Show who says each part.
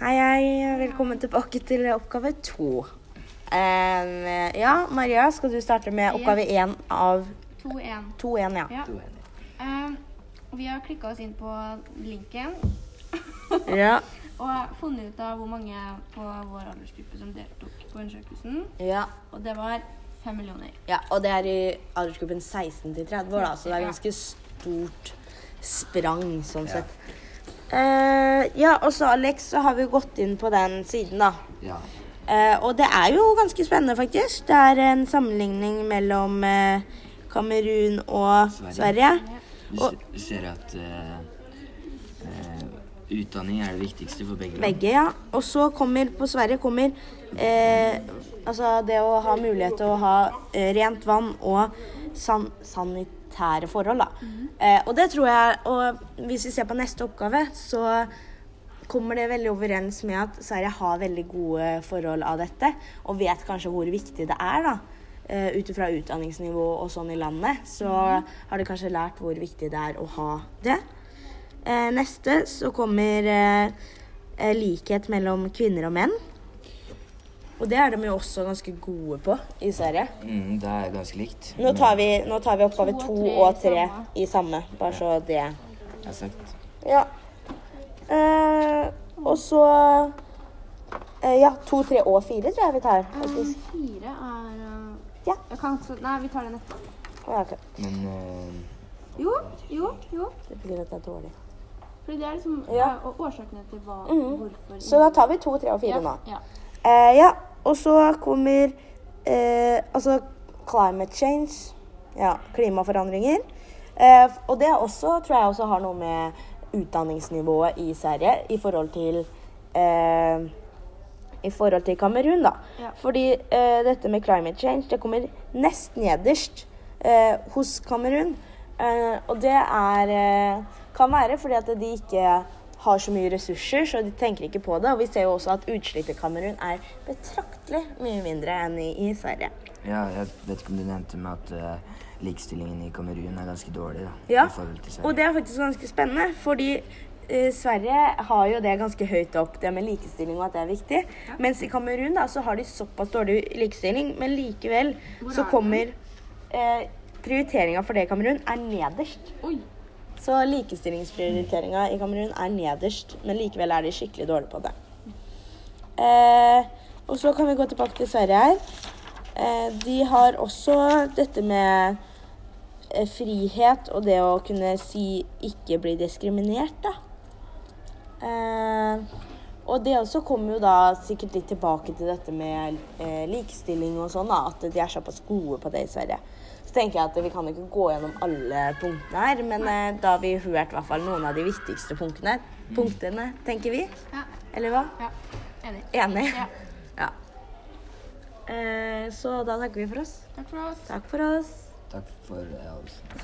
Speaker 1: Hei, hei. Velkommen tilbake til oppgave to. Em, ja, Maria, skal du starte med oppgave én av
Speaker 2: 2-1.
Speaker 1: to igjen? Ja.
Speaker 2: Ja. Ehm, vi har klikka oss inn på linken
Speaker 1: Ja.
Speaker 2: og funnet ut av hvor mange på vår aldersgruppe som deltok på undersøkelsen.
Speaker 1: ja.
Speaker 2: Og det var fem millioner.
Speaker 1: ja. Og det er i aldersgruppen 16 til 30 år, da, så det er ganske stort sprang sånn sett. Eh, ja, og så Alex, så har vi gått inn på den siden, da.
Speaker 3: Ja.
Speaker 1: Eh, og det er jo ganske spennende, faktisk. Det er en sammenligning mellom eh, Kamerun og
Speaker 3: Sverige.
Speaker 1: Sverige.
Speaker 3: Du
Speaker 1: Og-
Speaker 3: s- ser at eh, eh, utdanning er det viktigste for begge. land.
Speaker 1: Begge, ja. Og så kommer på Sverige kommer eh, altså det å ha mulighet til å ha eh, rent vann og san sanitære forhold, da. Eh, og det tror jeg Og hvis vi ser på neste oppgave, så kommer det veldig overens med at Sverige har veldig gode forhold av dette, og vet kanskje hvor viktig det er, da. Eh, Ut ifra utdanningsnivå og sånn i landet, så har de kanskje lært hvor viktig det er å ha det. Eh, neste så kommer eh, eh, likhet mellom kvinner og menn. Og det er de jo også ganske gode på i Sverige.
Speaker 3: Mm, det er ganske likt.
Speaker 1: Nå tar vi, nå tar vi oppgave
Speaker 2: To og
Speaker 1: to og
Speaker 2: tre i
Speaker 1: tre
Speaker 2: samme.
Speaker 1: i samme, bare så det
Speaker 3: Men Mm, Jeg har sagt
Speaker 1: Ja. Eh, og så eh, Ja, to, tre og fire tror jeg vi tar, faktisk.
Speaker 2: Fire er eh,
Speaker 1: Ja.
Speaker 2: Jeg kan ikke så Nei, vi tar den etterpå.
Speaker 1: Å, ja, ok.
Speaker 3: Men eh,
Speaker 2: Jo, jo, jo.
Speaker 1: Det betyr at det er dårlig.
Speaker 2: Fordi det er liksom
Speaker 1: Ja. Mm.
Speaker 2: eh, og årsakene til hva, hvorfor
Speaker 1: Så da tar vi to, tre og fire
Speaker 2: ja,
Speaker 1: nå.
Speaker 2: ja.
Speaker 1: Eh, ja, og så kommer eh, altså climate change. Ja, klimaforandringer. Eh, f- og det er også, tror jeg også har noe med utdanningsnivået i Sverige i forhold til eh, i forhold til Kamerun, da.
Speaker 2: Ja.
Speaker 1: Fordi eh, dette med climate change, det kommer nesten nederst eh, hos Kamerun. Eh, og det er eh, kan være fordi at de ikke har så mye ressurser, så de tenker ikke på det. Og vi ser jo også at utslipp i Kamerun er betraktelig mye mindre enn i, i Sverige.
Speaker 3: ja, jeg vet ikke om du nevnte med at eh, likestillingen i Kamerun er ganske dårlig. da.
Speaker 1: Ja,
Speaker 3: i forhold til Sverige.
Speaker 1: og det er faktisk ganske spennende, fordi eh, Sverige har jo det ganske høyt opp, det med likestilling og at det er viktig. Mens i Kamerun da, så har de såpass dårlig likestilling, men likevel
Speaker 2: Hvor er
Speaker 1: så
Speaker 2: den?
Speaker 1: kommer eh, prioriteringa for det i Kamerun er nederst.
Speaker 2: Oi.
Speaker 1: Så likestillingsprioriteringa i Kamerun er nederst, men likevel er de skikkelig dårlige på det. Eh, og så kan vi gå tilbake til Sverige her. Eh, de har også dette med eh, frihet og det å kunne si 'ikke bli diskriminert', da. Eh, og det også kommer jo da sikkert litt tilbake til dette med eh, likestilling og sånn, da. At de er såpass gode på det i Sverige. Så tenker jeg at vi kan ikke gå gjennom alle punktene her, men eh, da har vi hørt i hvert fall noen av de viktigste punktene, punktene tenker vi.
Speaker 2: Ja.
Speaker 1: Eller hva?
Speaker 2: ja. Enig.
Speaker 1: Enig?
Speaker 2: Ja.
Speaker 1: Ja. Eh, så da takker vi for oss.
Speaker 2: Takk for oss.
Speaker 1: Takk for oss.
Speaker 3: Takk for eh, oss.